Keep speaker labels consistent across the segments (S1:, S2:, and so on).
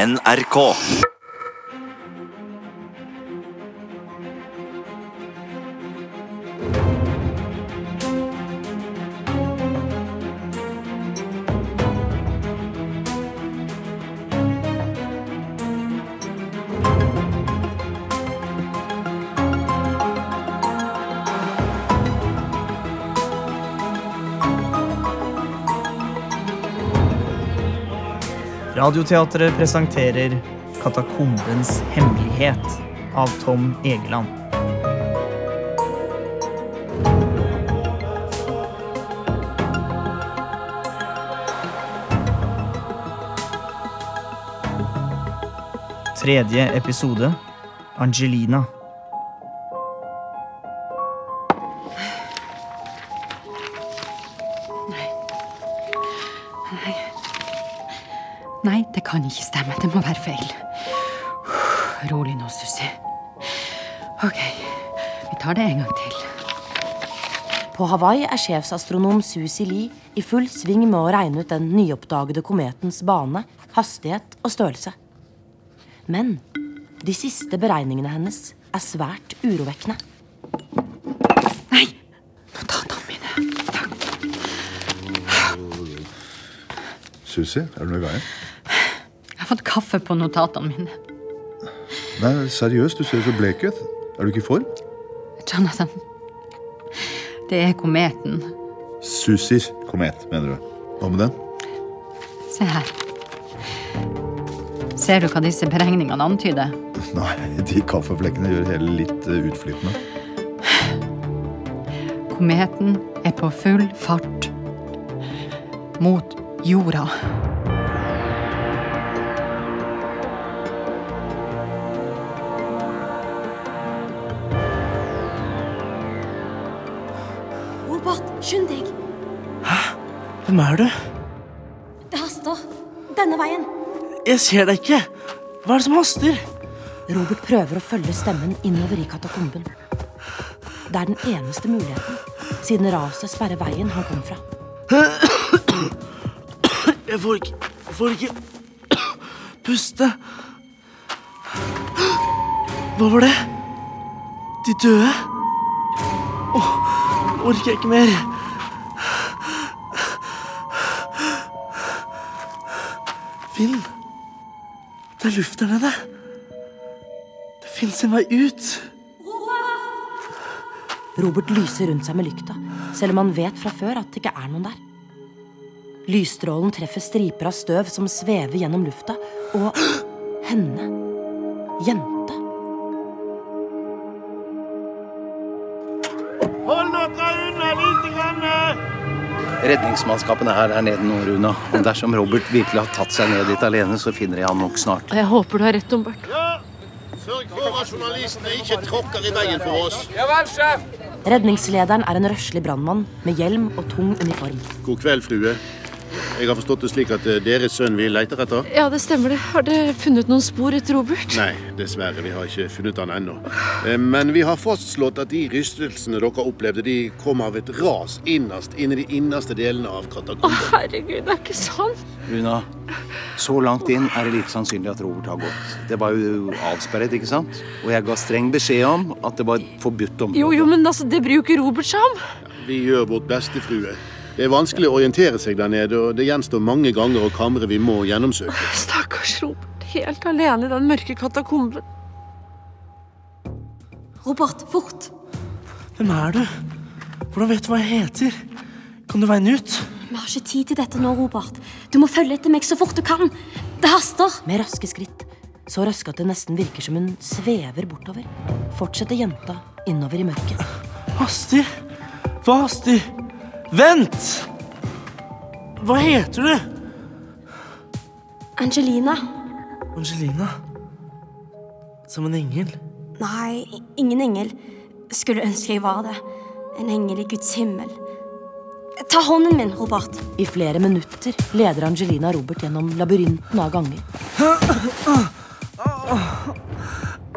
S1: NRK.
S2: Radioteatret presenterer Katakombens hemmelighet av Tom Egeland. Tredje episode Angelina.
S3: Nei. Nei, det kan ikke stemme. Det må være feil. Rolig nå, Sussi. Ok, vi tar det en gang til.
S4: På Hawaii er sjefsastronom Susi Lee i full sving med å regne ut den nyoppdagede kometens bane, hastighet og størrelse. Men de siste beregningene hennes er svært urovekkende.
S3: Nei! Nå tar han mine. Takk.
S5: Susi, er det noe i veien?
S3: Jeg har fått kaffe på notatene mine.
S5: Nei, seriøst, du ser så blek ut. Er du ikke for?
S3: Jonathan, det er kometen.
S5: Susi komet, mener du. Hva med den?
S3: Se her. Ser du hva disse beregningene antyder?
S5: Nei, de kaffeflekkene gjør hele litt eh, utflytende.
S3: Kometen er på full fart mot jorda.
S6: Robert, skynd deg.
S7: Hvem er du?
S6: Det haster. Denne veien.
S7: Jeg ser deg ikke. Hva er det som haster?
S4: Robert prøver å følge stemmen innover i katakomben. Det er den eneste muligheten, siden raset sperrer veien han kom fra.
S7: Jeg får ikke, jeg får ikke puste. Hva var det? De døde? Åh, nå orker jeg ikke mer. Vind. Det er luft der nede. Det fins en vei ut.
S4: Robert lyser rundt seg med lykta, selv om han vet fra før at det ikke er noen der. Lysstrålen treffer striper av støv som svever gjennom lufta, og henne. Jente.
S8: Redningsmannskapene er her nede nå, Runa. Og dersom Robert virkelig har tatt seg ned dit alene, så finner jeg han nok snart.
S9: Jeg håper du har rett, Umbert.
S10: Sørg for at journalistene ikke tråkker i veien for oss.
S4: Redningslederen er en røslig brannmann med hjelm og tung uniform.
S10: God kveld, frue. Jeg har forstått det slik at eh, deres sønn vi leter etter?
S9: Ja, det stemmer det. Har dere funnet noen spor etter Robert?
S10: Nei, dessverre. Vi har ikke funnet han ennå. Eh, Men vi har fastslått at de rystelsene dere opplevde, de kom av et ras innerst inne i de innerste delene av
S9: Å,
S10: katakomben.
S9: herregud, det er ikke sant!
S8: Runa, så langt inn er det lite sannsynlig at Robert har gått. Det var jo avsperret, ikke sant? Og jeg ga streng beskjed om at det var et forbudt område.
S9: Jo, jo, men altså, det bryr jo ikke Robert seg om.
S10: Vi gjør vårt beste, frue. Det er vanskelig å orientere seg der nede, og det gjenstår mange ganger å kamre vi må gjennomsøke.
S9: Stakkars Robert, helt alene i den mørke katakomben.
S6: Robert, fort.
S7: Hvem er du? Hvordan vet du hva jeg heter? Kan du veien ut?
S6: Vi har ikke tid til dette nå, Robert. Du må følge etter meg så fort du kan. Det haster.
S4: Med raske skritt, så raske at det nesten virker som hun svever bortover, fortsetter jenta innover i mørket.
S7: Haster? Hva haster? Vent! Hva heter du?
S6: Angelina.
S7: Angelina. Som en engel.
S6: Nei, ingen engel. Skulle ønske jeg var det. En engel i Guds himmel. Ta hånden min, Robert.
S4: I flere minutter leder Angelina Robert gjennom labyrinten av ganger.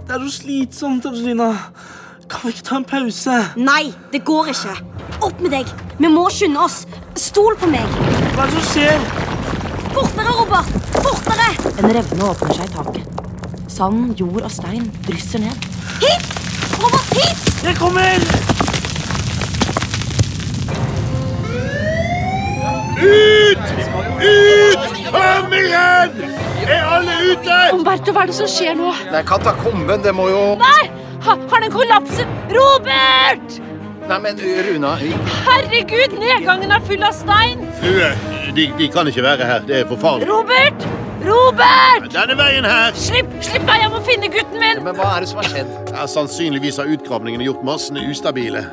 S7: Det er så slitsomt, Angelina. Kan vi ikke ta en pause?
S6: Nei, det går ikke. Opp med deg. Vi må skynde oss. Stol på meg.
S7: Hva er det som skjer?
S6: Fortere, Robert! Fortere!
S4: En revne åpner seg i taket. Sand, jord og stein drysser ned.
S6: Hit! Robert, hit!
S7: Jeg kommer!
S10: Ut! Ut! Kom igjen! Er alle ute?
S9: Umberto, hva er det som skjer nå?
S11: Nei, katakomben, det må jo
S9: Der! Ha, har den kollapset? Robert!
S11: Nei, men Runa
S9: Herregud, nedgangen er full av stein!
S10: Frue, de, de kan ikke være her. Det er for farlig.
S9: Robert! Robert!
S10: Denne veien her!
S9: Slipp, slipp meg, jeg må finne gutten min!
S11: Men hva er det som har skjedd?
S10: Ja, sannsynligvis har utgravningene gjort massene ustabile.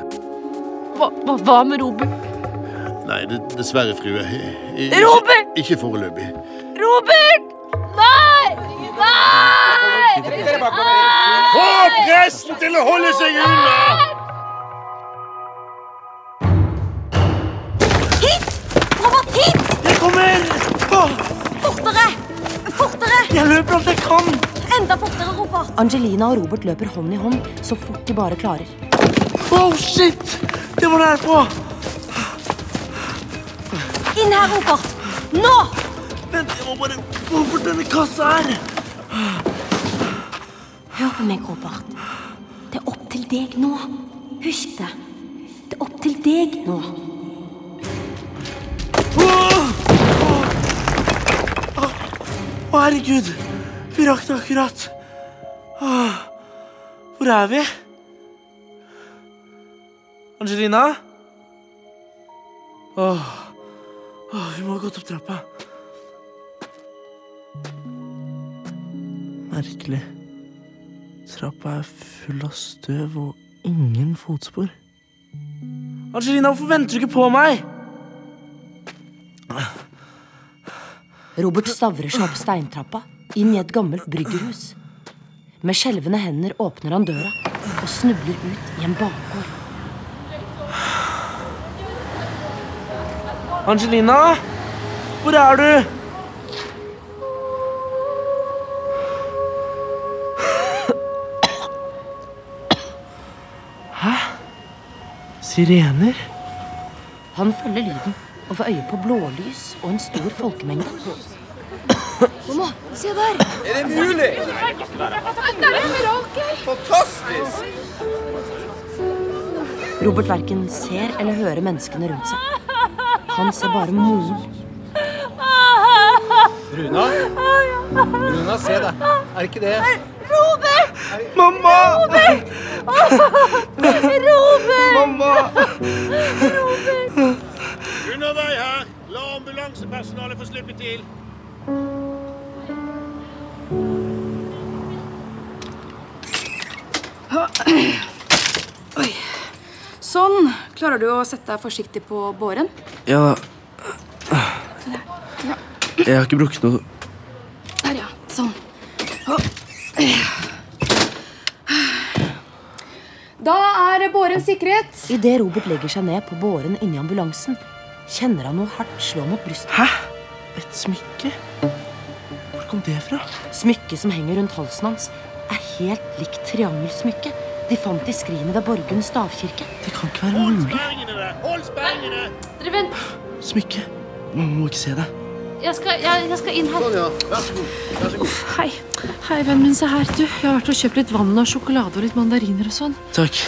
S9: Hva, hva, hva med Robert?
S10: Nei, d- dessverre, frue. I-
S9: Robert!
S10: Ikke foreløpig.
S9: Robert! Nei! Nei!
S10: Få presten til å holde seg unna!
S6: Robert, hit!
S7: Jeg kommer! Åh,
S6: Fortere! Fortere!
S7: jeg løper alt jeg kan!
S6: Enda fortere, Robert!
S4: Angelina og Robert løper hånd i hånd så fort de bare klarer.
S7: Oh, shit! Det var derfra!
S6: Inn her, Robert! Nå!
S7: Vent, jeg må bare få bort denne kassa her.
S6: Hør på meg, Robert. Det er opp til deg nå. Husk det. Det er opp til deg nå.
S7: Å, herregud. Vi rakk det akkurat. Åh, Hvor er vi? Angelina? Åh, åh, vi må ha gått opp trappa. Merkelig. Trappa er full av støv og ingen fotspor. Angelina, hvorfor venter du ikke på meg?
S4: Robert stavrer seg opp steintrappa, inn i et gammelt bryggerhus. Med skjelvende hender åpner han døra og snubler ut i en bakgård.
S7: Angelina? Hvor er du? Hæ? Sirener?
S4: Han følger lyden og får øye på blålys og en stor folkemengde.
S6: Se der!
S4: Robert verken ser eller hører menneskene rundt seg. Han ser bare moren.
S11: Runa? Runa, se deg. Er det ikke det?
S7: Mamma! Mamma!
S10: Unna vei her! La ambulansepersonalet få slippe til.
S1: Sånn. Klarer du å sette deg forsiktig på båren?
S7: Ja da. Jeg har ikke brukt noe
S1: Der, ja. Sånn. Da er båren sikret.
S4: Idet Robert legger seg ned på båren inni ambulansen, kjenner han noe hardt slå mot brystet.
S7: Hæ? Et smykke? Hvor kom det fra?
S4: Smykket som henger rundt halsen hans, er helt likt triangelsmykket de fant i skrinet ved Borgund stavkirke.
S7: Det kan ikke være mulig.
S10: Sperringene der! Hold sperringene!
S9: Dere vent,
S7: Smykke. Man må ikke se det.
S9: jeg skal, jeg, jeg skal inn her.
S10: Sånn, ja. Vær så god. Vær så god.
S9: Hei. Hei, vennen min, se her. Du, jeg har vært og kjøpt litt vann og sjokolade og litt mandariner og sånn.
S7: Takk.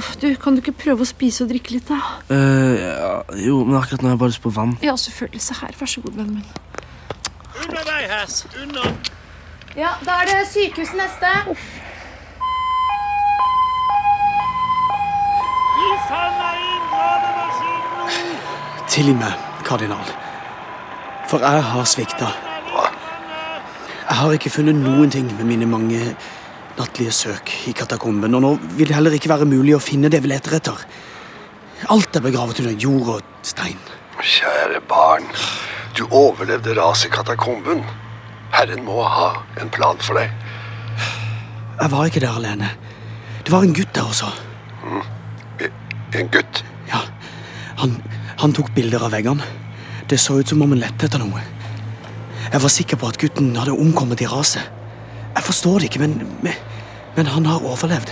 S9: Uff, du, kan du ikke prøve å spise og drikke litt, da?
S7: Eh, ja, jo, men akkurat nå har jeg bare lyst på vann.
S9: Ja, selvfølgelig. Se her. Vær så god, vennen min.
S10: Unna vei her! Unna!
S1: Ja, Da er det sykehus neste.
S10: Vi sender inn gravemaskinen!
S12: Tilgi meg, kardinal. For jeg har svikta. Jeg har ikke funnet noen ting med mine mange nattlige søk i katakomben, og nå vil det heller ikke være mulig å finne det vi leter etter. Alt er begravet under jord og stein.
S3: Kjære barn, du overlevde raset i katakomben. Herren må ha en plan for deg.
S12: Jeg var ikke der alene. Det var en gutt der også.
S3: Mm. En gutt.
S12: Ja, han, han tok bilder av veggene. Det så ut som om han lette etter noe. Jeg var sikker på at gutten hadde omkommet i raset. Jeg forstår det ikke, men, men, men han har overlevd.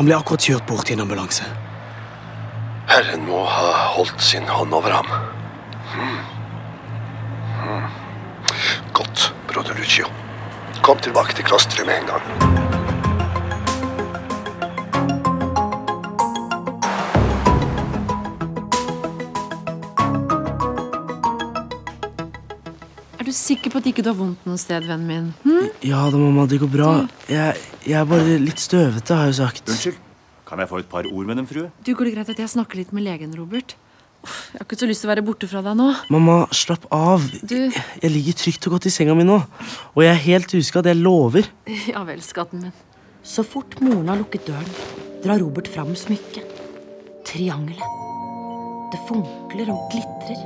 S12: Han ble akkurat kjørt bort i en ambulanse.
S3: Hmm. Herren må ha holdt sin hånd over ham. Brodoruccio. Kom tilbake til klosteret med en gang.
S9: Er du sikker på at ikke du har vondt noe sted, vennen min? Hm?
S7: Ja da, mamma, det går bra. Jeg, jeg er bare litt støvete, har jeg jo sagt.
S13: Unnskyld? Kan jeg få et par ord med Dem, frue?
S9: Du, Går det greit at jeg snakker litt med legen, Robert? Uff, Jeg har ikke så lyst til å være borte fra deg nå.
S7: Mamma, slapp av.
S9: Du,
S7: Jeg ligger trygt og godt i senga mi nå. Og jeg er helt uskadd, jeg lover.
S9: ja vel, skatten min.
S4: Så fort moren har lukket døren, drar Robert fram smykket. Triangelet. Det funkler og glitrer.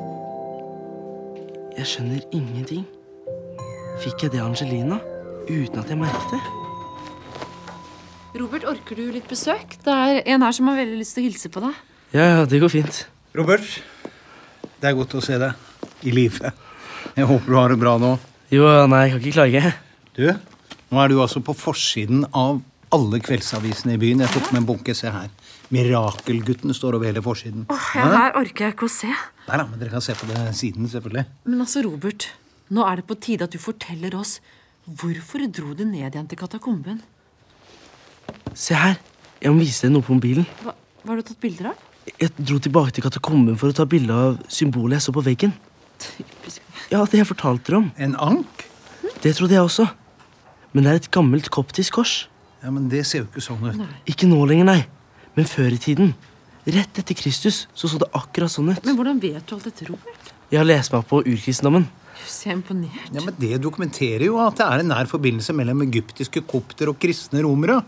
S7: Jeg skjønner ingenting. Fikk jeg det av Angelina uten at jeg merket det?
S9: Robert, orker du litt besøk? Det er en her som har veldig lyst til å hilse på deg.
S7: Ja, ja, det går fint.
S8: Robert, det er godt å se deg i live. Jeg håper du har det bra nå.
S7: Jo, nei, jeg kan ikke klage.
S8: Du, nå er du altså på forsiden av alle kveldsavisene i byen. Jeg tok med en bunke, se her. Mirakelgutten står over hele forsiden.
S9: Ja,
S8: Hæ?
S9: her orker jeg ikke å se.
S8: Nei da, men dere kan se på det siden, selvfølgelig.
S9: Men altså, Robert, nå er det på tide at du forteller oss hvorfor du dro det ned igjen til katakomben.
S7: Se her. Jeg må vise deg noe på mobilen.
S9: Hva, hva har du tatt bilder av?
S7: Jeg dro tilbake til katakomben for å ta bilde av symbolet jeg så på veggen. Ja, det jeg fortalte dere om.
S8: En ank?
S7: Det trodde jeg også. Men det er et gammelt koptisk kors.
S8: Ja, Men det ser jo ikke sånn ut.
S7: Ikke nå lenger, nei. Men før i tiden. Rett etter Kristus så så det akkurat sånn ut.
S9: Men hvordan vet du alt dette, Robert?
S7: Jeg har lest meg opp på urkristendommen.
S9: Så jeg er imponert.
S8: Ja, men Det dokumenterer jo at det er en nær forbindelse mellom egyptiske kopter og kristne romere.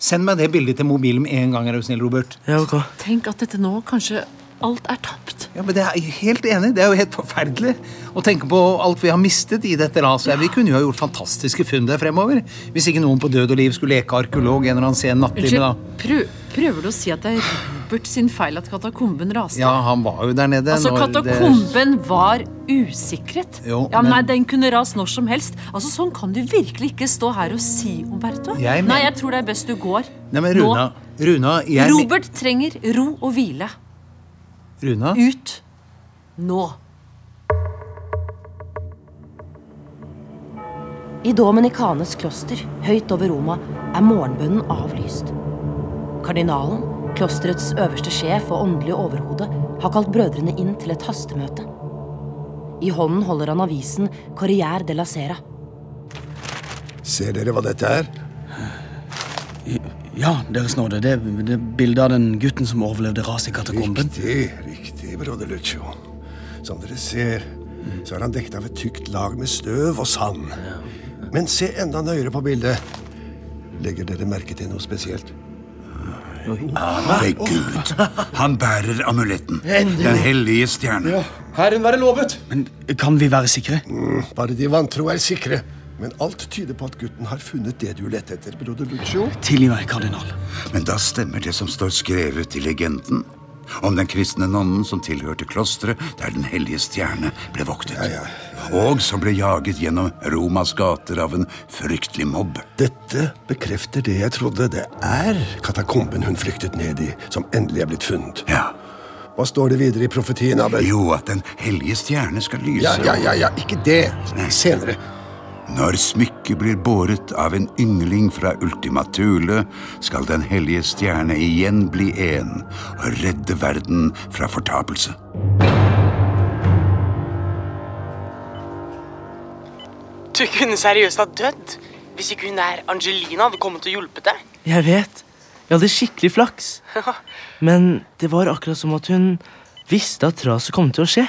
S8: Send meg det bildet til mobilen med en gang, er du snill, Robert.
S7: Ja, ok.
S9: Tenk at dette nå kanskje alt er tapt.
S8: Ja, men det er jeg Helt enig. Det er jo helt forferdelig å tenke på alt vi har mistet i dette raset. Vi kunne jo ha gjort fantastiske funn der fremover. Hvis ikke noen på Død og liv skulle leke arkeolog en eller annen sen nattime, da.
S9: Unnskyld, prøv, prøver du å si at det er Robert sin feil at katakomben raste?
S8: Ja, han var jo der nede.
S9: Altså,
S8: når det-
S9: Katakomben var usikret.
S8: Jo,
S9: ja, men... Nei,
S8: men-
S9: Den kunne ras når som helst. Altså, Sånn kan du virkelig ikke stå her og si, Umberto.
S8: Jeg men-
S9: Nei, jeg tror det er best du går.
S8: Nei, men
S9: Nå-
S8: Runa, Runa jeg...
S9: Robert trenger ro og hvile.
S8: Runa?
S9: Ut. Nå.
S4: I Dominikanes kloster, høyt over Roma, er morgenbønnen avlyst. Kardinalen, klosterets øverste sjef og åndelige overhode, har kalt brødrene inn til et hastemøte. I hånden holder han avisen Corriere de la Sera.
S3: Ser dere hva dette er?
S12: Ja, Deres Nåde, det det er bildet av den gutten som overlevde raset i katakomben.
S14: Riktig, riktig, broder Lucio. Som dere ser, så er han dekket av et tykt lag med støv og sand. Men se enda nøyere på bildet. Legger dere merke til noe spesielt?
S15: Ved Gud. Han bærer amuletten. Den hellige stjerne.
S14: Herren være lovet!
S12: Men kan vi være sikre?
S14: Mm, Bare de vantro er sikre. Men alt tyder på at gutten har funnet det du lette etter, broder Lucio.
S12: Tilgi meg, kardinal.
S15: Men da stemmer det som står skrevet i legenden. Om den kristne nonnen som tilhørte klosteret der Den hellige stjerne ble voktet. Og som ble jaget gjennom Romas gater av en fryktelig mobb.
S14: Dette bekrefter det jeg trodde. Det er katakomben hun flyktet ned i, som endelig er blitt funnet.
S15: Ja.
S14: Hva står det videre i profetien? Abel?
S15: Jo, at Den hellige stjerne skal lyse
S14: Ja, ja, ja, ja, ikke det.
S15: Senere. Når smykket blir båret av en yngling fra Ultima Thule, skal Den hellige stjerne igjen bli en og redde verden fra fortapelse.
S16: Du kunne seriøst ha dødd hvis ikke hun der Angelina hadde kommet og hjulpet deg.
S7: Jeg vet. Jeg hadde skikkelig flaks. Men det var akkurat som at hun visste at raset kom til å skje.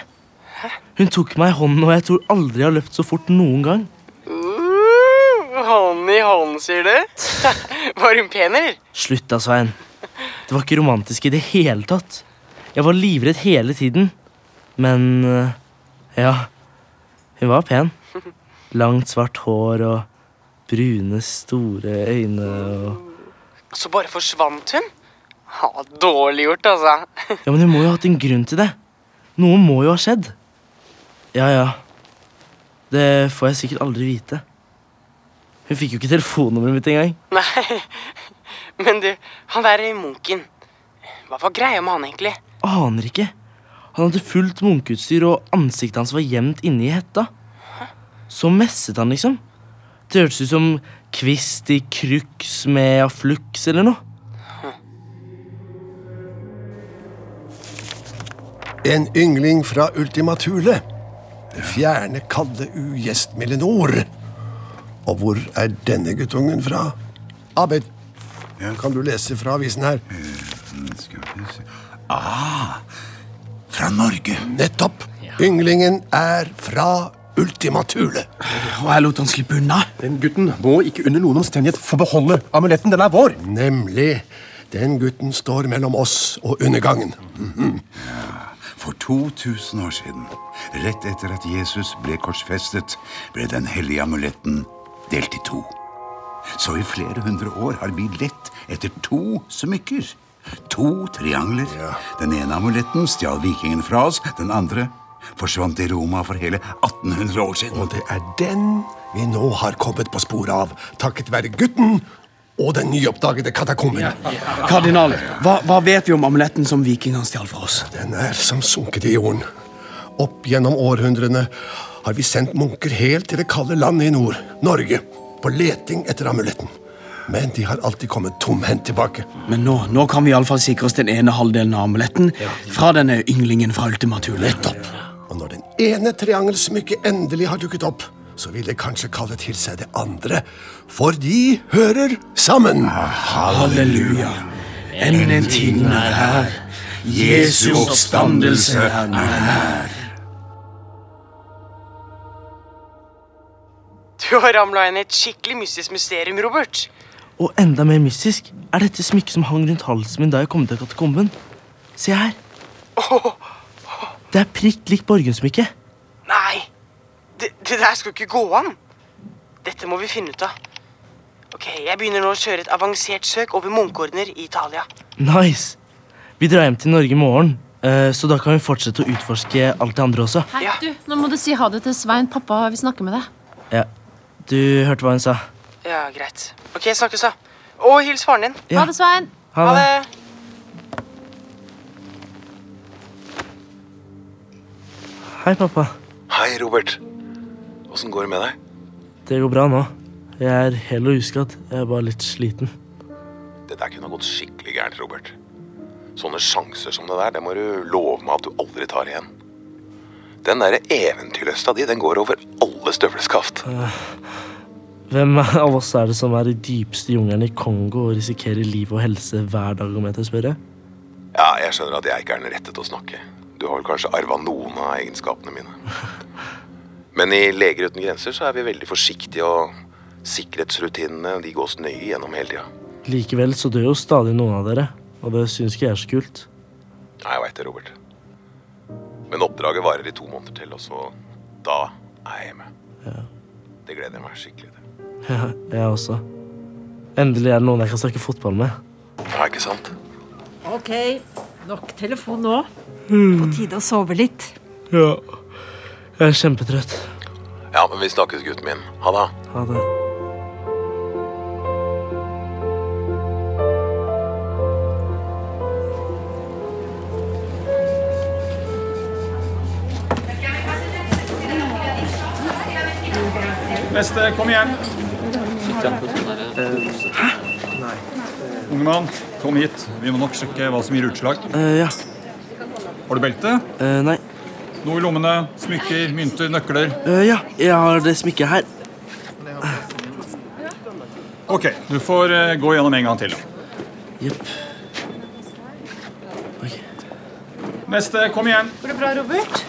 S7: Hun tok meg i hånden, og jeg tror aldri jeg har løpt så fort noen gang.
S16: Uh, hånd i hånd, sier du? Var hun pen, eller?
S7: Slutt da, Svein. Det var ikke romantisk i det hele tatt. Jeg var livredd hele tiden. Men eh, ja, hun var pen. Langt, svart hår og brune, store øyne og
S16: Så bare forsvant hun? Ja, dårlig gjort, altså.
S7: Ja, men hun må jo ha hatt en grunn til det. Noe må jo ha skjedd. Ja, ja. Det får jeg sikkert aldri vite. Hun fikk jo ikke telefonnummeret mitt engang.
S16: Nei, men du, han der munken. Hva var greia med han, egentlig?
S7: Aner ikke. Han hadde fullt munkeutstyr, og ansiktet hans var gjemt inni hetta. Så messet han, liksom. Det hørtes ut som kvist i crux med afflux eller noe.
S14: En yngling fra Ultimatule. Det fjerne, kalde ugjestmilde nord. Og hvor er denne guttungen fra? Abed, kan du lese fra avisen her?
S12: Eh, mm,
S15: Ah, fra Norge.
S14: Nettopp. Ynglingen er fra Ultimatule.
S12: Og jeg lot han slippe unna.
S14: Den gutten må ikke under noen omstendighet få beholde amuletten. Den er vår. Nemlig. Den gutten står mellom oss og undergangen.
S15: Mhm. For 2000 år siden, rett etter at Jesus ble korsfestet, ble den hellige amuletten delt i to. Så i flere hundre år har vi lett etter to smykker. To triangler. Den ene amuletten stjal vikingen fra oss. Den andre forsvant i Roma for hele 1800 år siden.
S14: Og det er den vi nå har kommet på sporet av, takket være gutten og den nyoppdagede katakomben.
S12: Kardinal, hva, hva vet vi om amuletten som vikingene stjal fra oss?
S14: Den er som sunket i jorden. Opp gjennom århundrene har vi sendt munker helt til det kalde landet i nord, Norge, på leting etter amuletten. Men de har alltid kommet tomhendt tilbake.
S12: Men nå, nå kan vi iallfall sikre oss den ene halvdelen av amuletten fra denne ynglingen fra Ultimatule.
S14: Og når den ene triangelsmykket endelig har dukket opp, så vil det kanskje kalle til seg det andre, for de hører sammen.
S12: Halleluja. Enden en tiden er her. Jesu oppstandelse er nær.
S16: Du har ramla inn i et skikkelig mystisk mysterium, Robert.
S7: Og enda mer mystisk er dette smykket som hang rundt halsen min da jeg kom til katakomben. Se her. Det er prikk likt Borgen-smykket.
S16: Nei, det, det der skal ikke gå an. Dette må vi finne ut av. Ok, Jeg begynner nå å kjøre et avansert søk over munkeordener i Italia.
S7: Nice. Vi drar hjem til Norge i morgen, eh, så da kan vi fortsette å utforske alt det andre også.
S17: Hei, du, nå må du si ha det til Svein. Pappa vil snakke med deg.
S7: Ja. Du hørte hva hun sa.
S16: Ja, greit. Ok, Snakkes, da. Og hils faren din.
S7: Ja.
S17: Ha det, Svein.
S7: Ha det. Hei, pappa.
S18: Hei, Robert. Åssen går det med deg?
S7: Det går bra nå. Jeg er hel og uskadd. Jeg er bare litt sliten.
S18: Det der kunne ha gått skikkelig gærent, Robert. Sånne sjanser som det der, det må du love meg at du aldri tar igjen. Den derre eventyrlysta di, den går over alle støvleskaft.
S7: Eh, Hvem av oss er det som er i dypeste jungelen i Kongo og risikerer liv og helse hver dag, om jeg tør spørre?
S18: Ja, jeg skjønner at jeg ikke er den rette til å snakke. Du har vel kanskje arva noen av egenskapene mine. Men i Leger uten grenser så er vi veldig forsiktige, og sikkerhetsrutinene de gås nøye gjennom hele tida.
S7: Likevel så dør jo stadig noen av dere, og det syns ikke jeg er så kult.
S18: Nei, jeg veit det, Robert. Men oppdraget varer i to måneder til, og så Da er jeg med.
S7: Ja.
S18: Det gleder jeg meg skikkelig til.
S7: jeg også. Endelig er det noen jeg kan snakke fotball med.
S18: Ja, ikke sant?
S19: Ok, nok telefon nå. På tide å sove litt.
S7: Ja. Jeg er kjempetrøtt.
S18: Ja, men vi snakkes, gutten min. Ha det.
S7: Ha det.
S20: Neste, kom igjen. Hæ? Unge mann, kom hit. Vi må nok sjekke hva som gir utslag.
S7: Eh, ja. Eh,
S20: Har du belte?
S7: nei.
S20: Noe i lommene? Smykker, mynter, nøkler?
S7: Eh, ja, jeg har det smykket her.
S20: Ok, du får eh, gå gjennom en gang til.
S7: Jepp.
S20: Neste, kom igjen.
S19: Går det bra, Robert?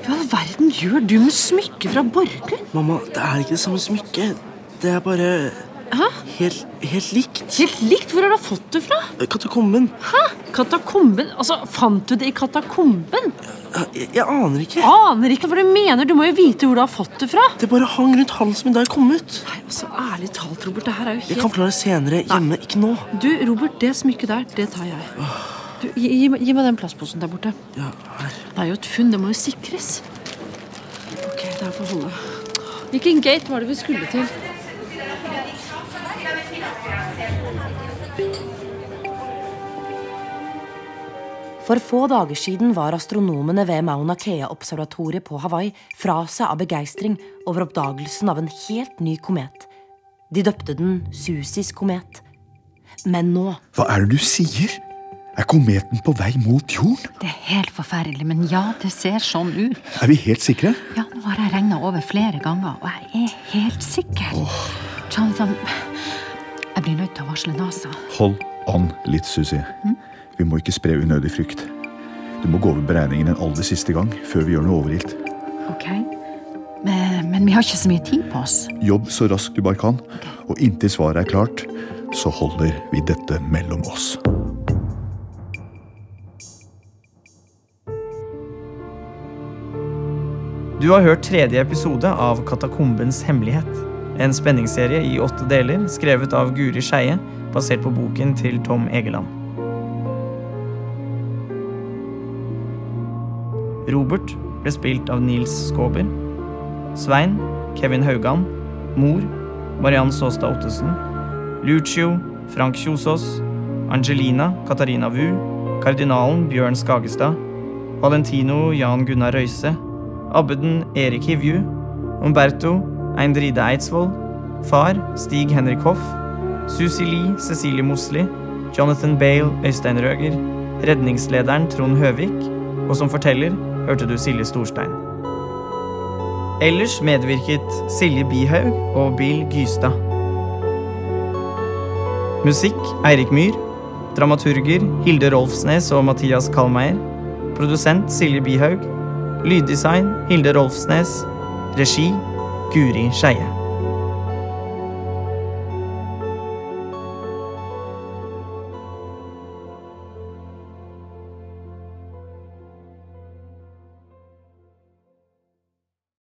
S9: Hva i all verden gjør du med smykket fra Borgen?
S7: Mamma, det er ikke det samme smykket. Det er bare helt, helt likt.
S19: Helt likt? Hvor har du fått det fra?
S7: Eh, Katakomben.
S19: Hæ? Katakomben? Altså, Fant du det i katakomben?
S7: Jeg, Eh, jeg aner ikke.
S19: Aner ikke hva du mener. Du må jo vite hvor du har fått det fra.
S7: Det bare hang rundt halsen min da jeg kom ut.
S19: Nei, altså, Ærlig talt, Robert. Det her er jo helt
S7: Jeg kan forklare senere hjemme, ikke nå.
S19: Du, Robert, det smykket der, det tar jeg. Du, gi, gi, meg- gi meg den plastposen der borte.
S7: Ja, her.
S19: Det er jo et funn. Det må jo sikres. Ok, det her får holde. Hvilken gate var det vi skulle til?
S4: For få dager siden var astronomene ved Mauna Kea-observatoriet på Hawaii fra seg av begeistring over oppdagelsen av en helt ny komet. De døpte den Susis komet. Men nå
S5: Hva er det du sier? Er kometen på vei mot jorden?
S21: Det er helt forferdelig, men ja, det ser sånn ut.
S5: Er vi helt sikre?
S21: Ja, nå har jeg regna over flere ganger, og jeg er helt sikker. Jonathan, jeg blir nødt til å varsle NASA.
S5: Hold an litt, Susi.
S21: Mm.
S5: Vi må ikke spre unødig frykt. Du må gå over beregningen en aller siste gang før vi gjør noe overilt.
S21: Ok? Men, men vi har ikke så mye tid på oss.
S5: Jobb så raskt du bare kan, og inntil svaret er klart, så holder vi dette mellom oss.
S2: Du har hørt tredje episode av Katakombens hemmelighet. En spenningsserie i åtte deler skrevet av Guri Skeie, basert på boken til Tom Egeland. Robert ble spilt av Nils Skåber. Svein Kevin Haugan. Mor Mariann Saastad Ottesen. Lucio Frank Kjosås. Angelina Katarina Wu. Kardinalen Bjørn Skagestad. Valentino Jan Gunnar Røise. Abbeden Erik Hivju, Umberto Eindride Eidsvoll, far Stig Henrik Hoff, Susi Lee Cecilie Mosli, Jonathan Bale Øystein Røger, redningslederen Trond Høvik, og som forteller hørte du Silje Storstein. Ellers medvirket Silje Bihaug og Bill Gystad. Musikk Eirik Myhr. Dramaturger Hilde Rolfsnes og Mathias Kallmeier. Produsent Silje Bihaug. Lyddesign Hilde Rolfsnes. Regi Guri Skeie.